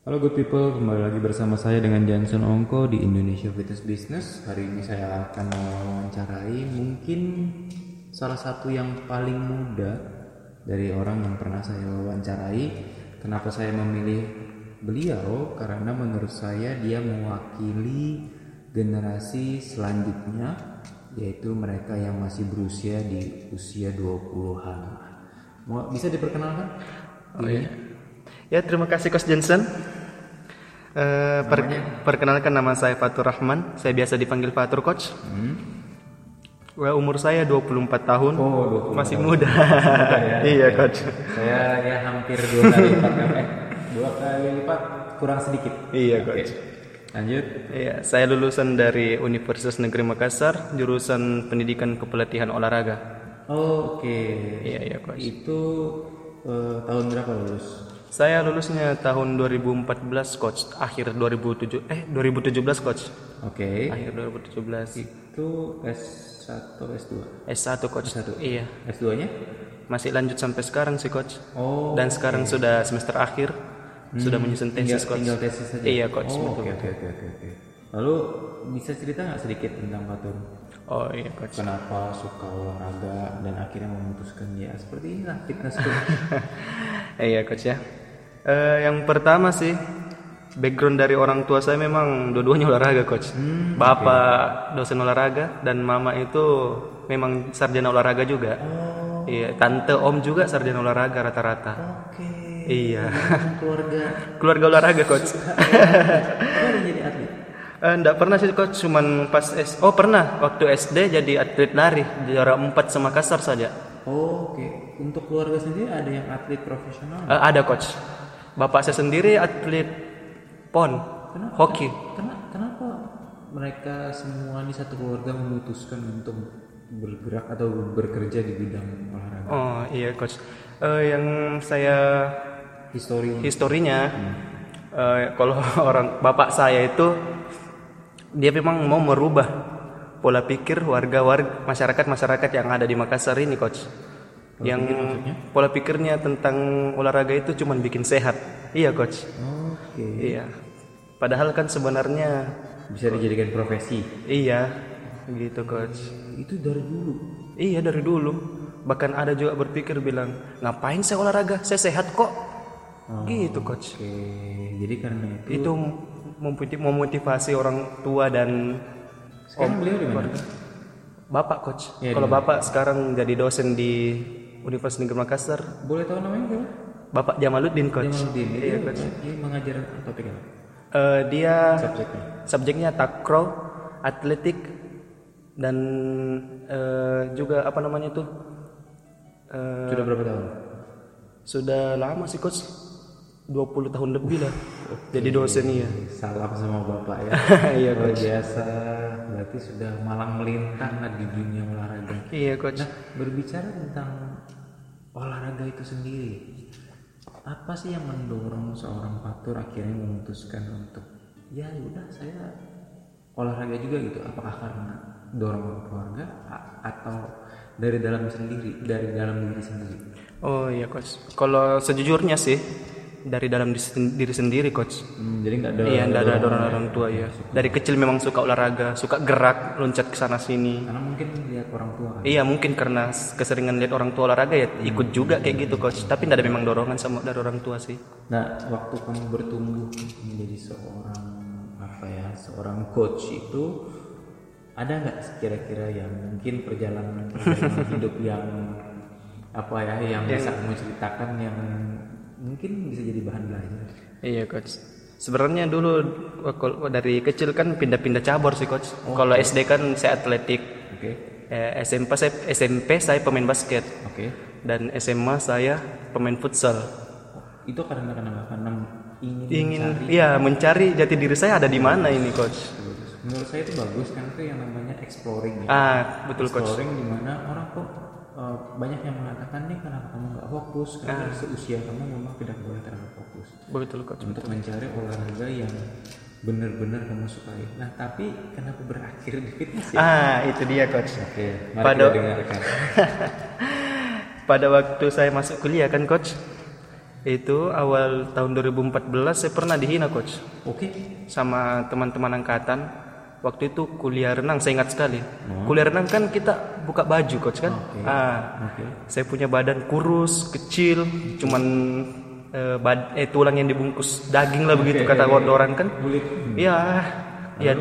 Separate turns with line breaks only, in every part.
Halo good people, kembali lagi bersama saya dengan Johnson Ongko di Indonesia Fitness Business. Hari ini saya akan mewawancarai mungkin salah satu yang paling muda dari orang yang pernah saya wawancarai. Kenapa saya memilih beliau? Karena menurut saya dia mewakili generasi selanjutnya yaitu mereka yang masih berusia di usia 20-an. Mau- Bisa diperkenalkan?
Oh, iya. Ya terima kasih Coach Johnson. Eh, per- perkenalkan nama saya Fatur Rahman. Saya biasa dipanggil Fatur Coach. Wah, umur saya 24 tahun.
Oh, 24
masih muda.
ya.
iya Coach.
Saya ya hampir dua kali lipat kan, eh dua kali lipat kurang sedikit.
Iya
Oke.
Coach.
Lanjut.
Iya, saya lulusan dari Universitas Negeri Makassar, jurusan Pendidikan Kepelatihan Olahraga.
Oh, Oke.
Iya iya Coach.
Itu eh, tahun berapa lulus?
Saya lulusnya tahun 2014 Coach, akhir 2007 eh 2017 Coach.
Oke.
Akhir 2017.
Itu S1 S2.
S1 Coach.
S1.
Iya.
S2-nya?
Masih lanjut sampai sekarang sih coach.
Oh.
Dan sekarang sudah semester akhir, sudah menyusun tesis coach.
Tinggal tesis saja.
Iya coach.
Oh,
betul.
Oke oke oke oke oke. Lalu bisa cerita nggak sedikit tentang Fatur?
Oh iya coach.
Kenapa suka olahraga dan akhirnya memutuskan ya seperti inilah fitness coach.
iya coach ya. Eh, yang pertama sih background dari orang tua saya memang dua-duanya olahraga coach. Bapak dosen olahraga dan mama itu memang sarjana olahraga juga. Iya, tante om juga sarjana olahraga rata-rata.
Oke.
Iya.
Keluarga.
Keluarga olahraga coach.
Kamu udah jadi atlet?
Eh, Nggak pernah sih coach, cuman pas S Oh pernah, waktu SD jadi atlet lari Juara 4 sama kasar saja
Oh, Oke, untuk keluarga sendiri ada yang atlet profesional?
Eh, Ada coach Bapak saya sendiri atlet PON Hoki
Kena- kenapa mereka semua di satu keluarga memutuskan untuk bergerak atau bekerja di bidang olahraga?
Oh iya coach Eh, Yang saya
Histori
historinya eh, Kalau orang bapak saya itu Dia memang mau merubah Pola pikir warga-warga Masyarakat-masyarakat yang ada di Makassar ini coach yang pola pikirnya tentang olahraga itu cuman bikin sehat. Iya, coach.
Oke,
Iya. Padahal kan sebenarnya
bisa dijadikan profesi.
iya gitu, coach.
Itu dari dulu.
Iya dari dulu. Bahkan ada juga berpikir bilang, "Ngapain saya olahraga? Saya sehat kok."
Oh.
Gitu, coach.
Oke, jadi karena itu
Itu memputi- memotivasi orang tua dan
sekarang beliau di mana?
bapak, coach.
Iya,
Kalau bapak sekarang jadi dosen di Universitas Negeri Makassar,
Boleh tahu namanya siapa?
Bapak Jamaluddin, coach.
Jamaluddin. Iya, Dia mengajar topik apa?
Eh, dia
Subjeknya.
subjeknya takraw, atletik dan eh, juga apa namanya tuh eh,
Sudah berapa tahun?
sudah lama sih coach 20 tahun lebih lah jadi dosen ya
Salam sama bapak ya.
Iya,
Luar biasa. Berarti sudah malang melintang lah di dunia olahraga.
iya coach
Nah, berbicara tentang olahraga itu sendiri, apa sih yang mendorong seorang patur akhirnya memutuskan untuk ya udah saya olahraga juga gitu? Apakah karena dorongan keluarga a- atau dari dalam sendiri, dari dalam diri sendiri?
oh iya coach kalau sejujurnya sih dari dalam dis- diri sendiri coach
Hmm, jadi nggak ada.
iya ndak ada dorongan orang tua ya dari kecil memang suka olahraga suka gerak loncat ke sana sini
Karena mungkin lihat orang tua kan.
Iya mungkin karena keseringan lihat orang tua olahraga ya ikut juga kayak gitu coach. Tapi tidak ada memang dorongan sama dari orang tua sih.
Nah, waktu kamu bertumbuh menjadi seorang apa ya, seorang coach itu ada nggak kira-kira yang mungkin perjalanan, perjalanan hidup yang apa ya, yang bisa kamu ceritakan yang mungkin bisa jadi bahan belajar?
Iya coach. Sebenarnya dulu kalau dari kecil kan pindah-pindah cabur sih coach. Kalau SD kan saya atletik,
Oke,
Eh, SMP saya SMP saya pemain basket
oke.
dan SMA saya pemain futsal.
Itu karena kenapa? Karena ingin
Ingin iya mencari jati diri saya ada di mana ini coach.
bagus. Menurut saya itu bagus karena itu yang namanya exploring ya.
Ah betul coach.
Exploring dimana orang kok eh, banyak yang mengatakan nih kenapa kamu nggak fokus karena seusia kamu memang tidak boleh terlalu fokus.
Betul coach.
untuk mencari olahraga yang benar-benar kamu sukai. Nah, tapi kenapa berakhir di fitness ya?
Ah itu dia coach.
Oke, mari
Pada-
kita dengarkan.
Pada waktu saya masuk kuliah kan coach, Itu awal tahun 2014 saya pernah dihina coach
Oke.
sama teman-teman angkatan. Waktu itu kuliah renang saya ingat sekali. Kuliah renang kan kita buka baju coach kan. Ah,
Oke.
saya punya badan kurus, kecil, cuman eh, bad- eh, tulang yang dibungkus daging lah begitu kata orang kan.
Bulit.
Iya, iya.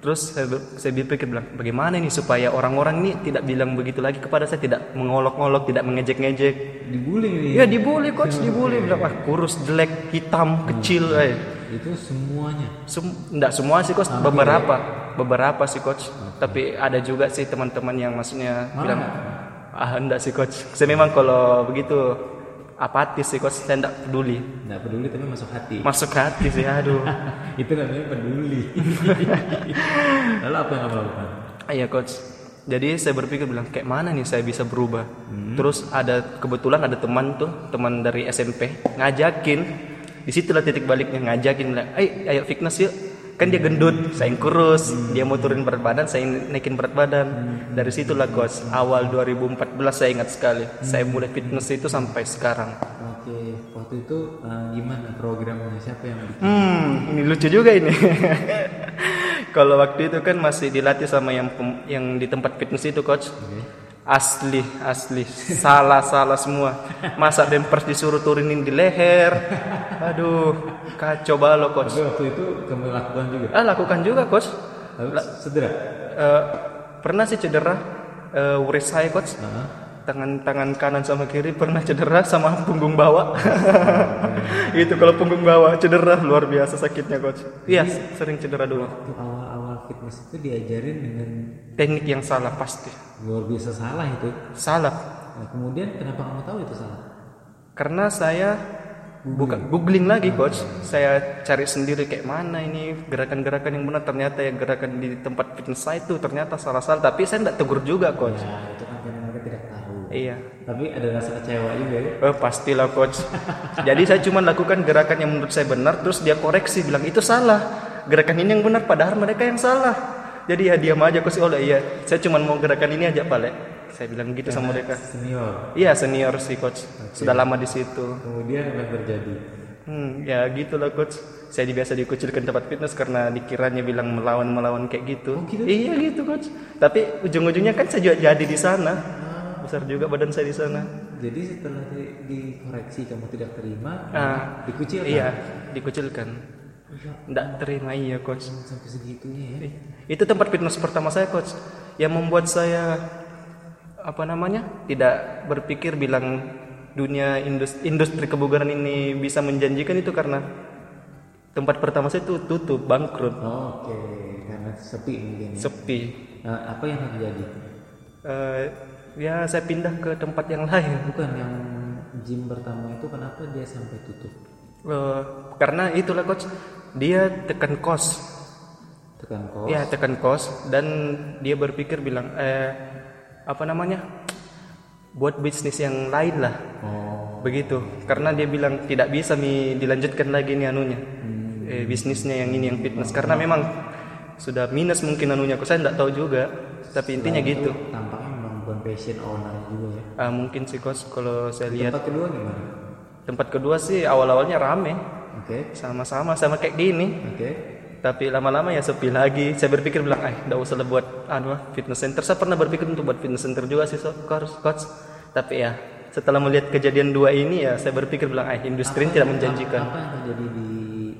Terus saya, ber- saya berpikir bilang, bagaimana ini supaya orang-orang ini tidak bilang begitu lagi kepada saya, tidak mengolok-olok, tidak mengejek-ngejek.
Dibully nih.
Ya dibully coach, dibully bilang wah kurus, jelek, hitam, kecil, eh.
Itu semuanya.
Sem enggak semua sih coach, beberapa, beberapa sih coach. Tapi ada juga sih teman-teman yang maksudnya
Marah
bilang
nggak?
ah enggak sih coach. Saya memang kalau begitu apatis sih coach, saya enggak peduli.
Nggak peduli tapi masuk hati.
Masuk hati sih, aduh.
itu namanya peduli. Lalu apa yang kamu lakukan?
Iya coach. Jadi saya berpikir bilang kayak mana nih saya bisa berubah. Terus ada kebetulan ada teman tuh teman dari SMP ngajakin. Di situlah titik baliknya ngajakin bilang, "Ayo, ayo fitness yuk." Kan dia gendut, saya yang kurus, dia mau turun berat badan, saya yang naikin berat badan. Dari situlah coach. Awal 2014 saya ingat sekali. Saya mulai fitness itu sampai sekarang.
Oke, waktu itu eh, gimana programnya? Siapa yang bikin?
Hmm, ini lucu juga ini. Kalau waktu itu kan masih dilatih sama yang pem- yang di tempat fitness itu coach. Asli, asli, salah, salah semua. Masa bempers disuruh turunin di leher. Aduh, kacau balau
Tapi
coach.
waktu itu kamu lakukan juga.
Ah, lakukan juga coach.
Lalu cedera.
Eh, pernah sih cedera eh wrist saya coach. Tangan tangan kanan sama kiri pernah cedera sama punggung bawah. itu kalau punggung bawah cedera luar biasa sakitnya coach. Iya, sering cedera dulu.
Waktu awal-awal fitness itu diajarin dengan
teknik yang salah pasti
luar biasa salah itu.
salah
Nah, kemudian kenapa kamu tahu itu salah?
karena saya buka googling lagi coach saya cari sendiri kayak mana ini gerakan-gerakan yang benar ternyata ya gerakan di tempat fitness saya itu ternyata salah-salah tapi saya tidak tegur juga coach
Nah, itu kan karena mereka tidak tahu.
iya
Tapi ada rasa kecewa juga ya.
Eh, pastilah coach jadi saya cuma lakukan gerakan yang menurut saya benar terus dia koreksi bilang itu salah gerakan ini yang benar padahal mereka yang salah jadi ya diam aja coach oleh iya saya cuma mau gerakan ini aja Pak, Le." saya bilang gitu sama mereka
Senior.
Iya senior sih coach, sudah lama di situ.
Kemudian apa yang terjadi?
Hmm, ya gitulah coach. Saya di- biasa dikucilkan tempat fitness karena dikiranya bilang melawan melawan kayak gitu. Iya gitu coach. Tapi ujung-ujungnya kan saya juga jadi di sana. Besar juga badan saya di sana.
Jadi setelah di- dikoreksi kamu tidak terima,
Ah,
dikucilkan.
iya dikucilkan. Nggak terima iya coach.
Sampai segitunya ya.
Eh, Itu tempat fitness pertama saya coach yang membuat saya apa namanya tidak berpikir bilang dunia indus- industri kebugaran ini bisa menjanjikan itu karena tempat pertama saya itu tutup bangkrut
Oh, Oke, karena sepi mungkin. ya.
sepi
Nah, apa yang terjadi?
Eh, ya saya pindah ke tempat yang lain
Bukan yang gym pertama itu kenapa dia sampai tutup?
Eh, karena itulah coach dia tekan kos
Tekan kos.
Ya tekan kos dan dia berpikir bilang eh apa namanya buat bisnis yang lain lah
Oh,
begitu karena dia bilang tidak bisa mi dilanjutkan lagi nih anunya eh, bisnisnya yang ini yang fitness karena memang sudah minus mungkin anunya kok saya tidak tahu juga tapi intinya gitu
tampaknya memang bukan passion owner juga ya.
Ah, mungkin sih kos kalau saya lihat
Tempat kedua gimana?
tempat kedua sih awal awalnya rame
Oke,
sama-sama sama kayak gini
oke.
tapi lama-lama ya sepi lagi saya berpikir bilang eh nggak usah lah buat anu ah, fitness center saya pernah berpikir untuk buat fitness center juga sih so, coach, coach. tapi ya setelah melihat kejadian dua ini ya saya berpikir bilang eh industri ini tidak menjanjikan
Apa yang terjadi di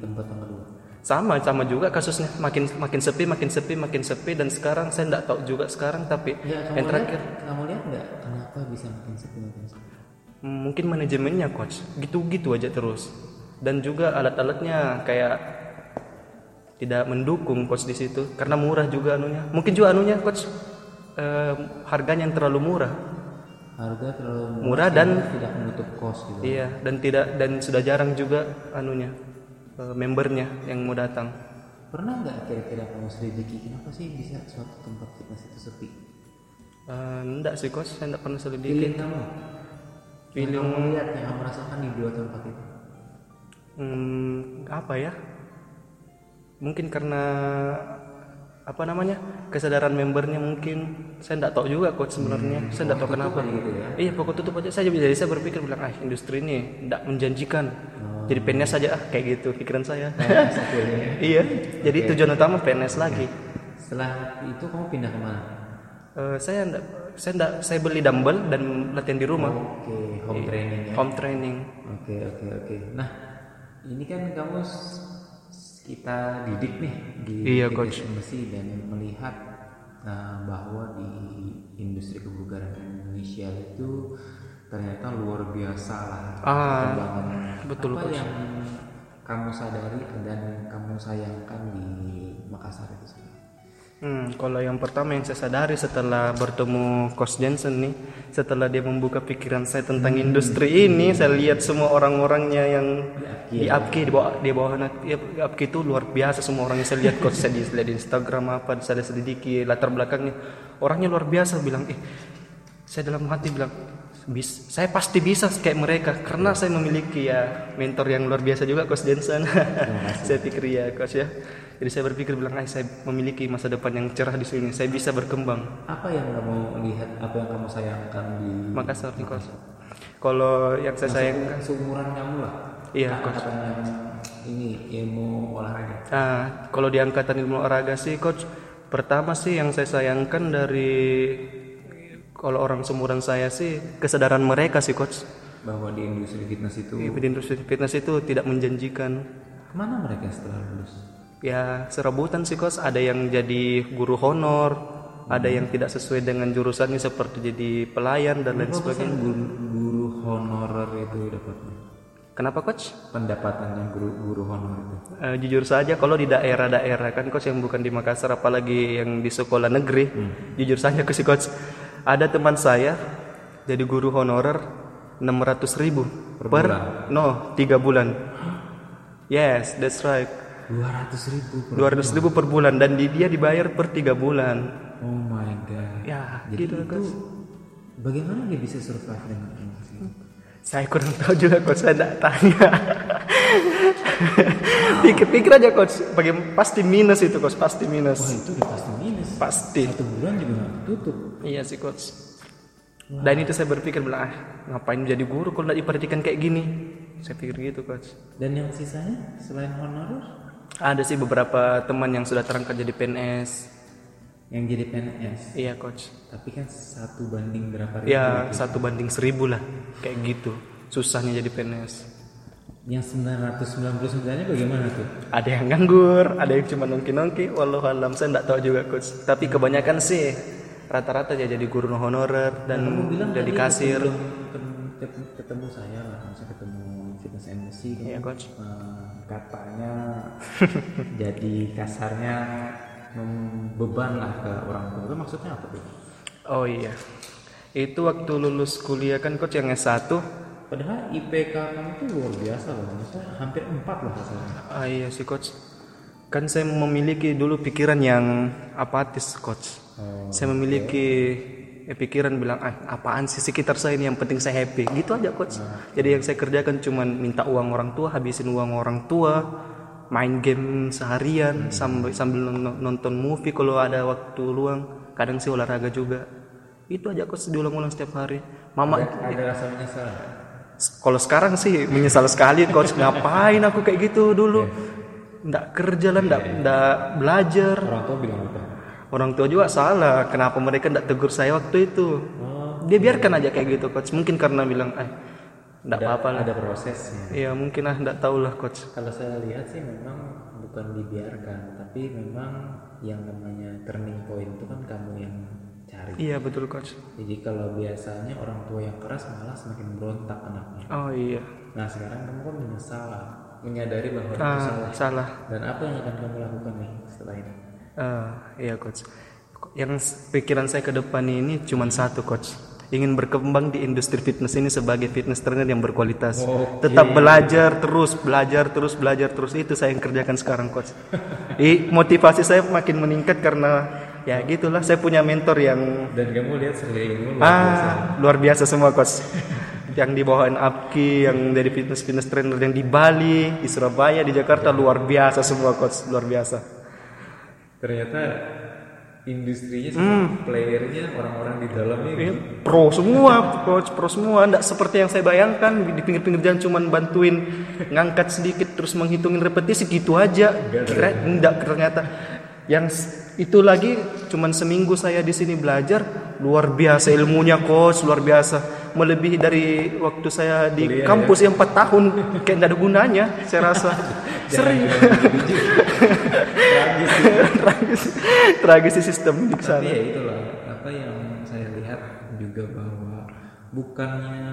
tempat yang kedua?
sama sama juga kasusnya makin makin sepi makin sepi makin sepi dan sekarang saya tidak tahu juga sekarang tapi
Ya, kamu
yang terakhir
lihat, kamu lihat nggak kenapa bisa makin sepi makin sepi?
mungkin manajemennya coach gitu-gitu aja terus dan juga alat-alatnya kayak tidak mendukung coach di situ karena murah juga anunya mungkin juga anunya coach eh, harganya yang terlalu murah
Harga terlalu
Murah dan-
sehingga tidak menutup kos gitu.
iya dan tidak dan sudah jarang juga anunya eh, membernya yang mau datang
Pernah nggak kira-kira kamu selidiki kenapa sih bisa suatu tempat fitness itu sepi?
Eh, enggak sih coach saya enggak pernah selidiki
Feeling kamu? Feeling yang kamu lihat yang kamu rasakan di dua tempat itu?
Hmm, apa ya? Mungkin karena apa namanya kesadaran membernya mungkin saya tidak tahu juga coach sebenarnya saya tidak tahu kenapa
gitu ya.
iya pokok tutup aja saya jadi saya berpikir bilang ah industri ini tidak menjanjikan
Oh,
jadi PNS saja ah kayak gitu pikiran saya
akhirnya
iya jadi tujuan utama PNS lagi
setelah itu kamu pindah kemana
Eh, saya ndak saya ndak saya beli dumbbell dan latihan di rumah
Oh, oke
Iya.
home training ya
home training
oke oke oke nah ini kan kamu s- kita didik nih di
Iya,
Fitness Embassy dan melihat uh, bahwa di industri kebugaran Indonesia itu ternyata luar biasa lah
Ah,
perkembangannya.
betul,
apa yang kamu sadari dan kamu sayangkan di Makassar itu sendiri
Hmm, kalau yang pertama yang saya sadari setelah bertemu Coach Jensen nih, setelah dia membuka pikiran saya tentang industri ini, saya lihat semua orang-orangnya yang di Apki di bawah di bawah anak ya, Apki itu luar biasa semua orangnya saya lihat coach saya di, lihat di Instagram apa saya selidiki latar belakangnya orangnya luar biasa bilang eh saya dalam hati bilang "Bis- saya pasti bisa kayak mereka karena saya memiliki ya mentor yang luar biasa juga coach Jensen saya pikir ya coach ya jadi saya berpikir bilang "Ah, saya memiliki masa depan yang cerah di sini saya bisa berkembang
apa yang kamu lihat apa yang kamu sayangkan di
Makassar nih coach ya. kalau yang saya sayangkan
seumuran kamu lah
iya coach
angkatan yang ini ilmu olahraga
Nah, kalau di angkatan ilmu olahraga sih coach pertama sih yang saya sayangkan dari kalau orang seumuran saya sih kesadaran mereka sih coach
bahwa di industri fitness itu
di industri fitness itu tidak menjanjikan
kemana mereka setelah lulus
ya serebutan sih coach ada yang jadi guru honor ada yang tidak sesuai dengan jurusannya seperti jadi pelayan dan lain sebagainya
kan guru, guru honorer itu dapatnya
kenapa coach
pendapatannya guru guru honor itu
Eh, jujur saja kalau di daerah-daerah kan coach yang bukan di Makassar apalagi yang di sekolah negeri jujur saja coach coach ada teman saya jadi guru honorer 600.000 ribu per, no tiga bulan yes that's right
200 ribu per
200.000 ribu per bulan dan di, dia dibayar per tiga bulan
oh my god
ya
jadi
gitu
itu bagaimana dia bisa survive dengan emosi
saya kurang tahu juga coach saya tidak tanya pikir-pikir aja coach Bagaimana pasti minus itu coach pasti
wah
minus
itu udah pasti minus
pasti
satu bulan juga nggak tutup
Iya sih coach. Dan itu saya berpikir bilang ah ngapain jadi guru kalau tidak diperhatikan kayak gini. Saya pikir gitu coach.
dan yang sisanya selain honorer
Ada sih beberapa teman yang sudah terangkat jadi PNS.
yang jadi PNS
Iya coach.
tapi kan satu banding berapa ribu
Ya satu banding seribu lah kayak gitu. Susahnya jadi PNS.
yang 999 nya bagaimana tuh
Ada yang nganggur, ada yang cuma nongki-nongki. Walau alam saya tidak tahu juga coach. Tapi kebanyakan sih rata-rata ya jadi guru honorer dan jadi kasir.
belum ket- ket- ketemu saya lah masa ketemu fitness embassy kan
Iya coach.
Eh, katanya jadi kasarnya membeban lah ke orang tua itu maksudnya apa tuh
Oh iya. Itu waktu lulus kuliah kan coach yang S1
padahal IPK kamu tuh luar biasa loh maksudnya hampir 4 lah kasarnya
Ah, iya sih coach. Kan saya memiliki dulu pikiran yang apatis coach. saya memiliki eh, pikiran bilang ah apaan sih sekitar saya ini yang penting saya happy. Gitu aja coach. Jadi yang saya kerjakan cuman minta uang orang tua, habisin uang orang tua, main game seharian sambil sambil non- nonton movie kalau ada waktu luang. Kadang sih olahraga juga. Itu aja coach diulang-ulang setiap hari. Mama
ada rasa menyesal nggak?
kalau sekarang sih menyesal sekali coach ngapain aku kayak gitu dulu. Nggak kerja lah, nggak, nggak belajar.
orang tua bilang apa
Orang tua juga salah, kenapa mereka nggak tegur saya waktu itu. Dia biarkan aja kayak gitu coach. Mungkin karena bilang, eh, nggak apa-apa lah.
ada prosesnya
Iya mungkin ah nggak tahu lah coach.
kalau saya lihat sih memang bukan dibiarkan tapi memang yang namanya turning point itu kan kamu yang cari
Iya betul coach.
jadi kalau biasanya orang tua yang keras malah semakin berontak anaknya
Oh iya,
nah sekarang kamu kan menyesal menyadari bahwa itu
Ah,
salah
salah.
dan apa yang akan kamu lakukan nih setelah ini
Eh, iya coach. Yang s- pikiran saya ke depan ini cuma satu coach. Ingin berkembang di industri fitness ini sebagai fitness trainer yang berkualitas. Tetap belajar terus, belajar terus, belajar terus itu saya yang kerjakan sekarang coach. I, motivasi saya makin meningkat karena ya gitulah saya punya mentor yang
dan kamu lihat sekelilingmu loh
ah luar biasa semua coach. yang di bawah Apki, yang dari fitness fitness trainer Iya. yang di Bali, di Surabaya, di Jakarta luar biasa semua coach, luar biasa.
ternyata
Hmm.
industrinya sama playernya orang-orang di dalamnya
Ini Eh, pro semua coach pro semua tidak seperti yang saya bayangkan di pinggir-pinggir jalan cuman bantuin ngangkat sedikit terus menghitungin repetisi gitu aja kira enggak ternyata yang s- itu lagi cuman seminggu saya di sini belajar luar biasa ilmunya coach luar biasa melebihi dari waktu saya di
ya.
kampus yang 4 tahun kayak nggak ada gunanya saya rasa sering tragis tragis di sistem di
tapi
sana
ya itulah apa yang saya lihat juga bahwa bukannya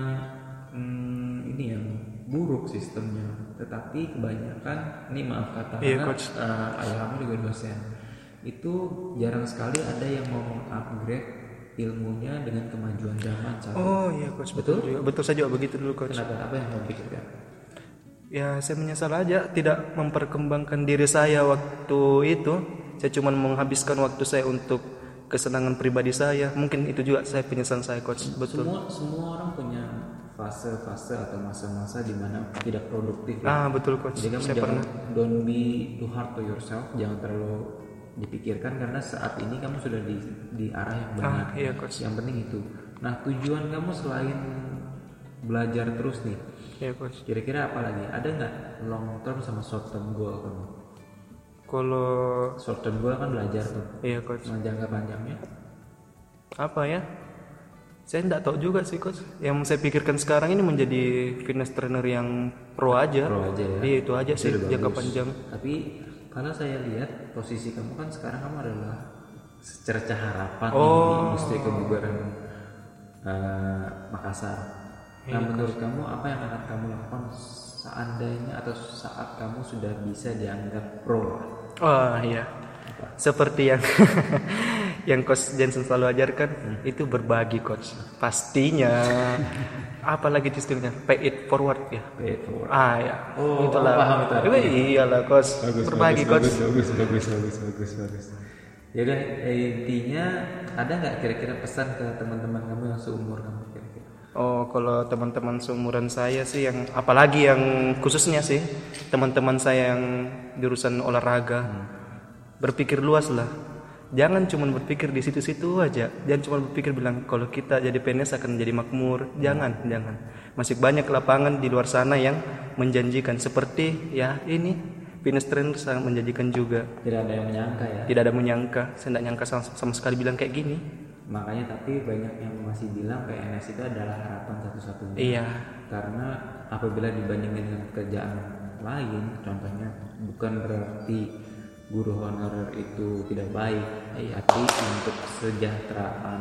hmm, ini yang buruk sistemnya tetapi kebanyakan ini maaf kata karena,
Iya, coach.
eh, ayah kamu juga dosen itu jarang sekali ada yang mau upgrade ilmunya dengan kemajuan zaman Cak.
oh iya coach betul juga betul saya juga begitu dulu coach
kenapa apa yang kamu pikirkan
Ya saya menyesal aja tidak memperkembangkan diri saya waktu itu. Saya cuma menghabiskan waktu saya untuk kesenangan pribadi saya. Mungkin itu juga saya penyesalan saya coach. Betul.
semua semua orang punya fase-fase atau masa-masa di mana tidak produktif ya.
Ah betul coach.
Jadi kamu
Saya
jangan
pernah.
don't be too hard to yourself, jangan terlalu dipikirkan karena saat ini kamu sudah di di arah yang benar.
Ah iya coach.
Yang penting itu. Nah, tujuan kamu selain belajar terus nih,
Iya coach.
kira-kira apa lagi? Ada nggak long term sama short term goal kamu?
Kalau
Short term goal kan belajar tuh.
iya coach.
Nah, jangka panjangnya
Apa ya? Saya tidak tahu juga sih coach. Yang saya pikirkan sekarang ini menjadi fitness trainer yang pro aja.
pro aja ya.
Iya itu aja sih jangka panjang.
Tapi kalau saya lihat posisi kamu kan sekarang kamu adalah secerca harapan nih di industri kebugaran eh, Makassar. Nah menurut kamu apa yang akan kamu lakukan seandainya atau saat kamu sudah bisa dianggap pro?
Wah iya. Seperti yang yang coach Jensen selalu ajarkan itu berbagi coach. Pastinya. Apalagi sistemnya pay it forward ya.
Pay it forward.
Ah ya.
Oh, paham itu artinya.
Eh, Iyalah coach. berbagi coach.
bagus bagus bagus bagus bagus. Yaudah eh, intinya ada nggak kira-kira pesan ke teman-teman kamu yang seumur kamu kira-kira?
Oh, kalau teman-teman seumuran saya sih yang apalagi yang khususnya sih teman-teman saya yang jurusan olahraga berpikir luas lah. Jangan cuma berpikir di situ-situ aja. Jangan cuma berpikir bilang kalau kita jadi PNS akan jadi makmur. Jangan, jangan. Masih banyak lapangan di luar sana yang menjanjikan seperti ya ini fitness trainer sangat menjanjikan juga.
Tidak ada yang menyangka ya.
Tidak ada menyangka, saya tidak nyangka sama, sama sekali bilang kayak gini.
Makanya tapi banyak yang masih bilang PNS itu adalah harapan satu-satunya.
Iya,
Karena apabila dibandingkan dengan pekerjaan lain, contohnya bukan berarti guru honorer itu tidak baik, tapi untuk kesejahteraan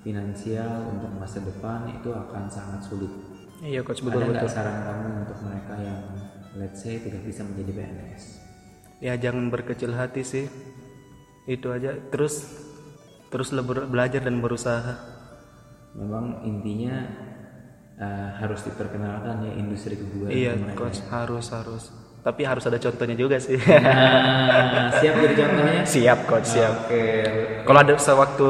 finansial untuk masa depan itu akan sangat sulit.
iya coach
Ada
betul-betul.
nggak saran kamu untuk mereka yang let's say tidak bisa menjadi PNS?
ya jangan berkecil hati sih itu aja terus terus leber- belajar dan berusaha
Memang intinya eh, harus diperkenalkan ya industri kebugaran
iya coach harus harus tapi harus ada contohnya juga sih
Nah, siap jadi contohnya?
siap coach siap
Oke.
kalau ada sewaktu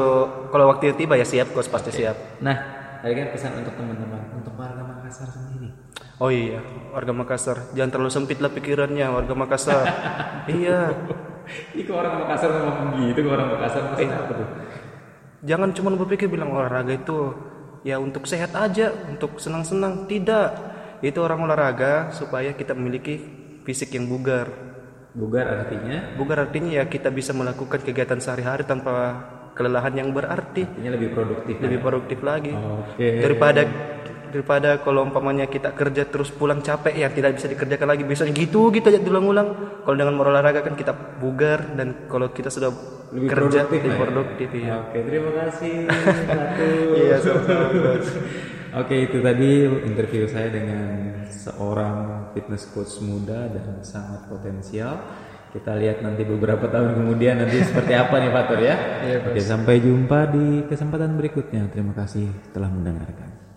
kalau waktu tiba ya siap coach pasti siap
Nah, tadi kan pesan untuk teman-teman, untuk warga Makassar sendiri.
oh iya warga Makassar jangan terlalu sempit lah pikirannya warga Makassar iya
Ih, kok orang Makassar ngomong gitu, kok orang Makassar maksudnya apa tuh?
jangan cuma berpikir bilang olahraga itu ya untuk sehat aja untuk senang-senang tidak itu orang olahraga supaya kita memiliki fisik yang bugar
Bugar artinya,
Bugar artinya ya kita bisa melakukan kegiatan sehari-hari tanpa kelelahan yang berarti
artinya lebih produktif.
lebih produktif lagi
Oke.
daripada daripada kalau umpamanya kita kerja terus pulang capek ya tidak bisa dikerjakan lagi biasanya gitu gitu aja diulang-ulang kalau dengan berolahraga kan kita bugar dan kalau kita sudah
Lebih produktif
kerja
lah
lebih
ya.
produktif ya
Oke, terima kasih. Satu.
Iya, sama-sama, Coach.
Oke, itu tadi interview saya dengan seorang fitness coach muda dan sangat potensial. Kita lihat nanti beberapa tahun kemudian nanti seperti apa nih Iya, Fatur ya. Oke, sampai jumpa di kesempatan berikutnya. Terima kasih telah mendengarkan.